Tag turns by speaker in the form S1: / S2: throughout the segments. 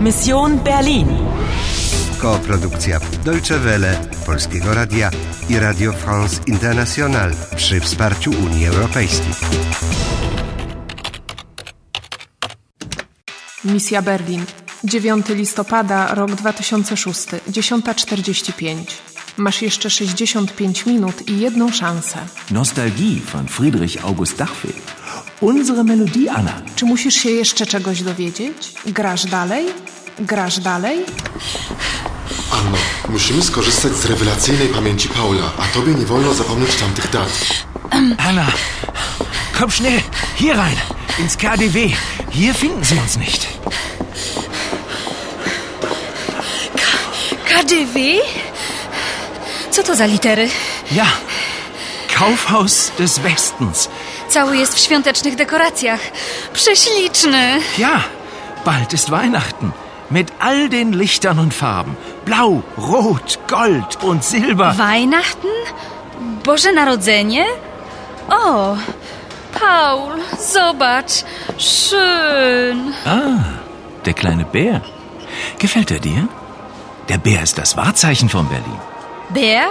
S1: Mission Berlin.
S2: Koprodukcja Deutsche Welle, Polskiego Radia i Radio France International przy wsparciu Unii Europejskiej.
S3: Misja Berlin. 9 listopada, rok 2006, 10.45. Masz jeszcze 65 minut i jedną szansę.
S4: Nostalgie von Friedrich August Dachfeld. Unsere Melodie, Anna.
S3: Czy musisz się jeszcze czegoś dowiedzieć? Grasz dalej? Grasz dalej?
S5: Anno, musimy skorzystać z rewelacyjnej pamięci Paula, a tobie nie wolno zapomnieć tamtych dat.
S4: Anna, komm schnell, hier rein, ins KDW. Hier finden Sie uns nicht.
S6: KDW? Co to za litery?
S4: Ja, Kaufhaus des Westens.
S6: Cały jest w świątecznych dekoracjach. Prześliczny.
S4: Ja, bald ist Weihnachten. Mit all den Lichtern und Farben. Blau, Rot, Gold und Silber.
S6: Weihnachten? Boże Narodzenie? O, Paul, zobacz. Schön.
S4: Der kleine Bär. Gefällt er dir? Der Bär ist das Wahrzeichen von Berlin.
S6: Ber?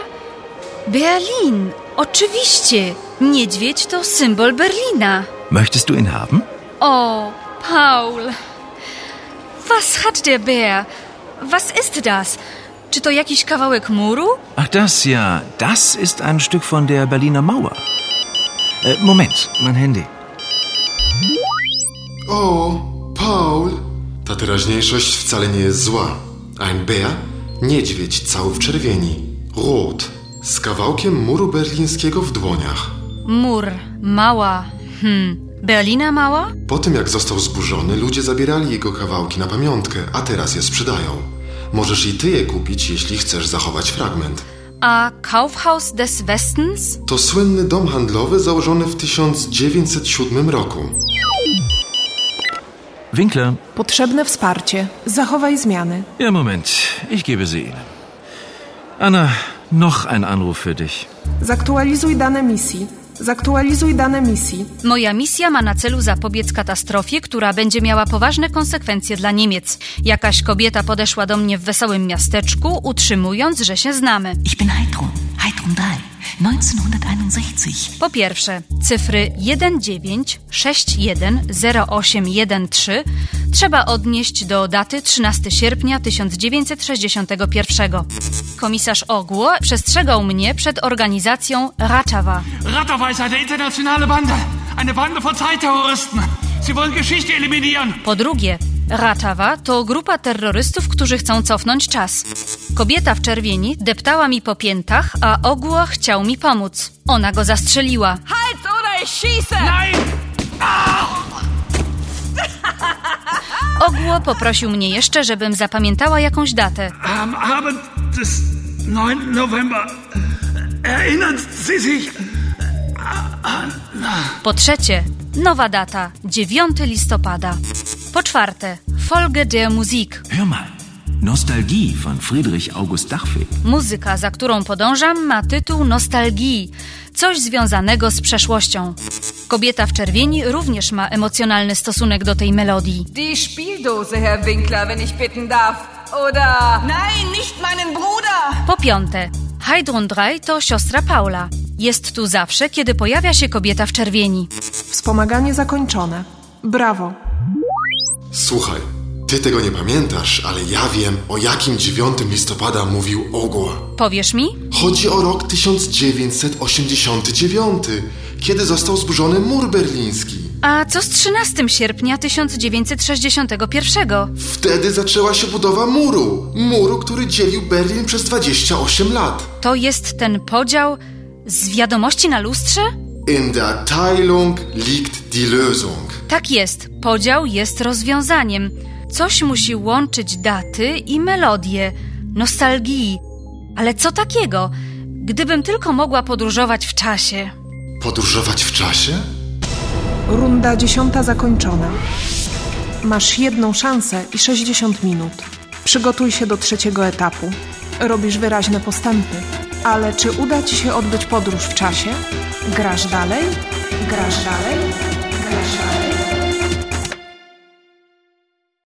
S6: Berlin. Oczywiście. Niedźwiedź to symbol Berlina.
S4: Möchtest du ihn haben?
S6: O, Paul. Was hat der Bär? Was ist das? Czy to jakiś kawałek muru?
S4: Ach, das ja. Das ist ein Stück von der Berliner Mauer. Äh, Moment, mein Handy.
S5: O, Paul! Ta teraźniejszość wcale nie jest zła. Ein Bär? Niedźwiedź cały w czerwieni. Rot. Z kawałkiem muru berlińskiego w dłoniach.
S6: Mur. Mała. Hmm. Berlina mała?
S5: Po tym jak został zburzony, ludzie zabierali jego kawałki na pamiątkę, a teraz je sprzedają. Możesz i ty je kupić, jeśli chcesz zachować fragment.
S6: A Kaufhaus des Westens?
S5: To słynny dom handlowy założony w 1907 roku.
S4: Winkler.
S3: Potrzebne wsparcie. Zachowaj zmiany.
S4: Ja, Moment. Ich gebe sie Ihnen. Anna, noch ein Anruf für dich.
S3: Zaktualizuj dane misji. Zaktualizuj dane misji.
S6: Moja misja ma na celu zapobiec katastrofie, która będzie miała poważne konsekwencje dla Niemiec. Jakaś kobieta podeszła do mnie w wesołym miasteczku, utrzymując, że się znamy.
S7: Ich bin Heidrun, Heidrun 3, 1961.
S6: Po pierwsze, cyfry 19610813 trzeba odnieść do daty 13 sierpnia 1961. Komisarz Ogło przestrzegał mnie przed organizacją Ratawa.
S8: Rattawey ist eine internationale Bande. Eine Bande von Zeitterroristen. Sie wollen Geschichte eliminieren.
S6: Po drugie, Ratawa to grupa terrorystów, którzy chcą cofnąć czas. Kobieta w czerwieni deptała mi po piętach, a ogło chciał mi pomóc. Ona go zastrzeliła.
S8: Nein!
S6: Ogło poprosił mnie jeszcze, żebym zapamiętała jakąś datę.
S8: Am Abend des 9. November äh, erinnern Sie sich
S6: Po trzecie, nowa data 9 listopada. Po czwarte, Folge der Musik
S4: Hör mal. Nostalgie von Friedrich August Dachfeld.
S6: Muzyka, za którą podążam, ma tytuł Nostalgii, coś związanego z przeszłością. Kobieta w czerwieni również ma emocjonalny stosunek do tej melodii.
S9: Die Spieldose, Herr Winkler, wenn ich bitten darf. Oder. Nein, nicht meinen Bruder!
S6: Po piąte, Heidrun Drei to siostra Paula. Jest tu zawsze, kiedy pojawia się kobieta w czerwieni.
S3: Wspomaganie zakończone. Brawo.
S5: Słuchaj, ty tego nie pamiętasz, ale ja wiem, o jakim 9 listopada mówił Ogła.
S6: Powiesz mi?
S5: Chodzi o rok 1989, kiedy został zburzony mur berliński.
S6: A co z 13 sierpnia 1961?
S5: Wtedy zaczęła się budowa muru. Muru, który dzielił Berlin przez 28 lat.
S6: To jest ten podział z wiadomości na lustrze?
S5: In der Teilung liegt die Lösung.
S6: Tak jest, podział jest rozwiązaniem. Coś musi łączyć daty i melodie, nostalgii. Ale co takiego? Gdybym tylko mogła podróżować w czasie.
S5: Podróżować w czasie?
S3: Runda dziesiąta zakończona. Masz jedną szansę i 60 minut. Przygotuj się do trzeciego etapu. Robisz wyraźne postępy, ale czy uda ci się odbyć podróż w czasie? Grasz dalej? Grasz dalej?